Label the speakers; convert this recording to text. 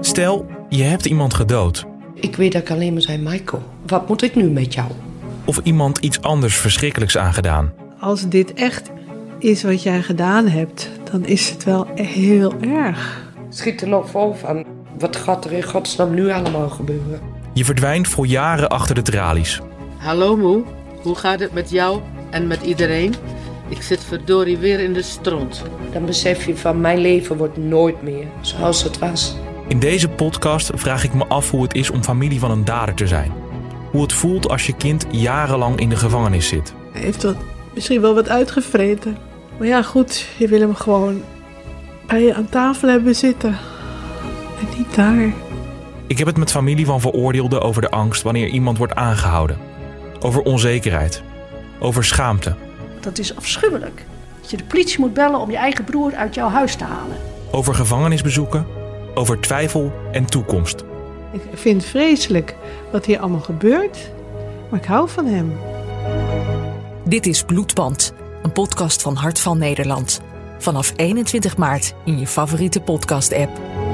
Speaker 1: Stel, je hebt iemand gedood.
Speaker 2: Ik weet dat ik alleen maar zei, Michael, wat moet ik nu met jou?
Speaker 1: Of iemand iets anders verschrikkelijks aangedaan.
Speaker 3: Als dit echt is wat jij gedaan hebt, dan is het wel heel erg.
Speaker 2: Schiet er nog vol van. Wat gaat er in godsnaam nu allemaal gebeuren?
Speaker 1: Je verdwijnt voor jaren achter de tralies.
Speaker 4: Hallo moe, hoe gaat het met jou en met iedereen? Ik zit verdorie weer in de stront.
Speaker 2: Dan besef je van mijn leven wordt nooit meer zoals het was.
Speaker 1: In deze podcast vraag ik me af hoe het is om familie van een dader te zijn. Hoe het voelt als je kind jarenlang in de gevangenis zit.
Speaker 3: Hij heeft wat, misschien wel wat uitgevreten. Maar ja, goed, je wil hem gewoon bij je aan tafel hebben zitten. En niet daar.
Speaker 1: Ik heb het met familie van veroordeelden over de angst wanneer iemand wordt aangehouden. Over onzekerheid. Over schaamte.
Speaker 5: Dat is afschuwelijk. Dat je de politie moet bellen om je eigen broer uit jouw huis te halen.
Speaker 1: Over gevangenisbezoeken. Over twijfel en toekomst.
Speaker 3: Ik vind het vreselijk wat hier allemaal gebeurt. Maar ik hou van hem.
Speaker 6: Dit is Bloedband, een podcast van Hart van Nederland. Vanaf 21 maart in je favoriete podcast-app.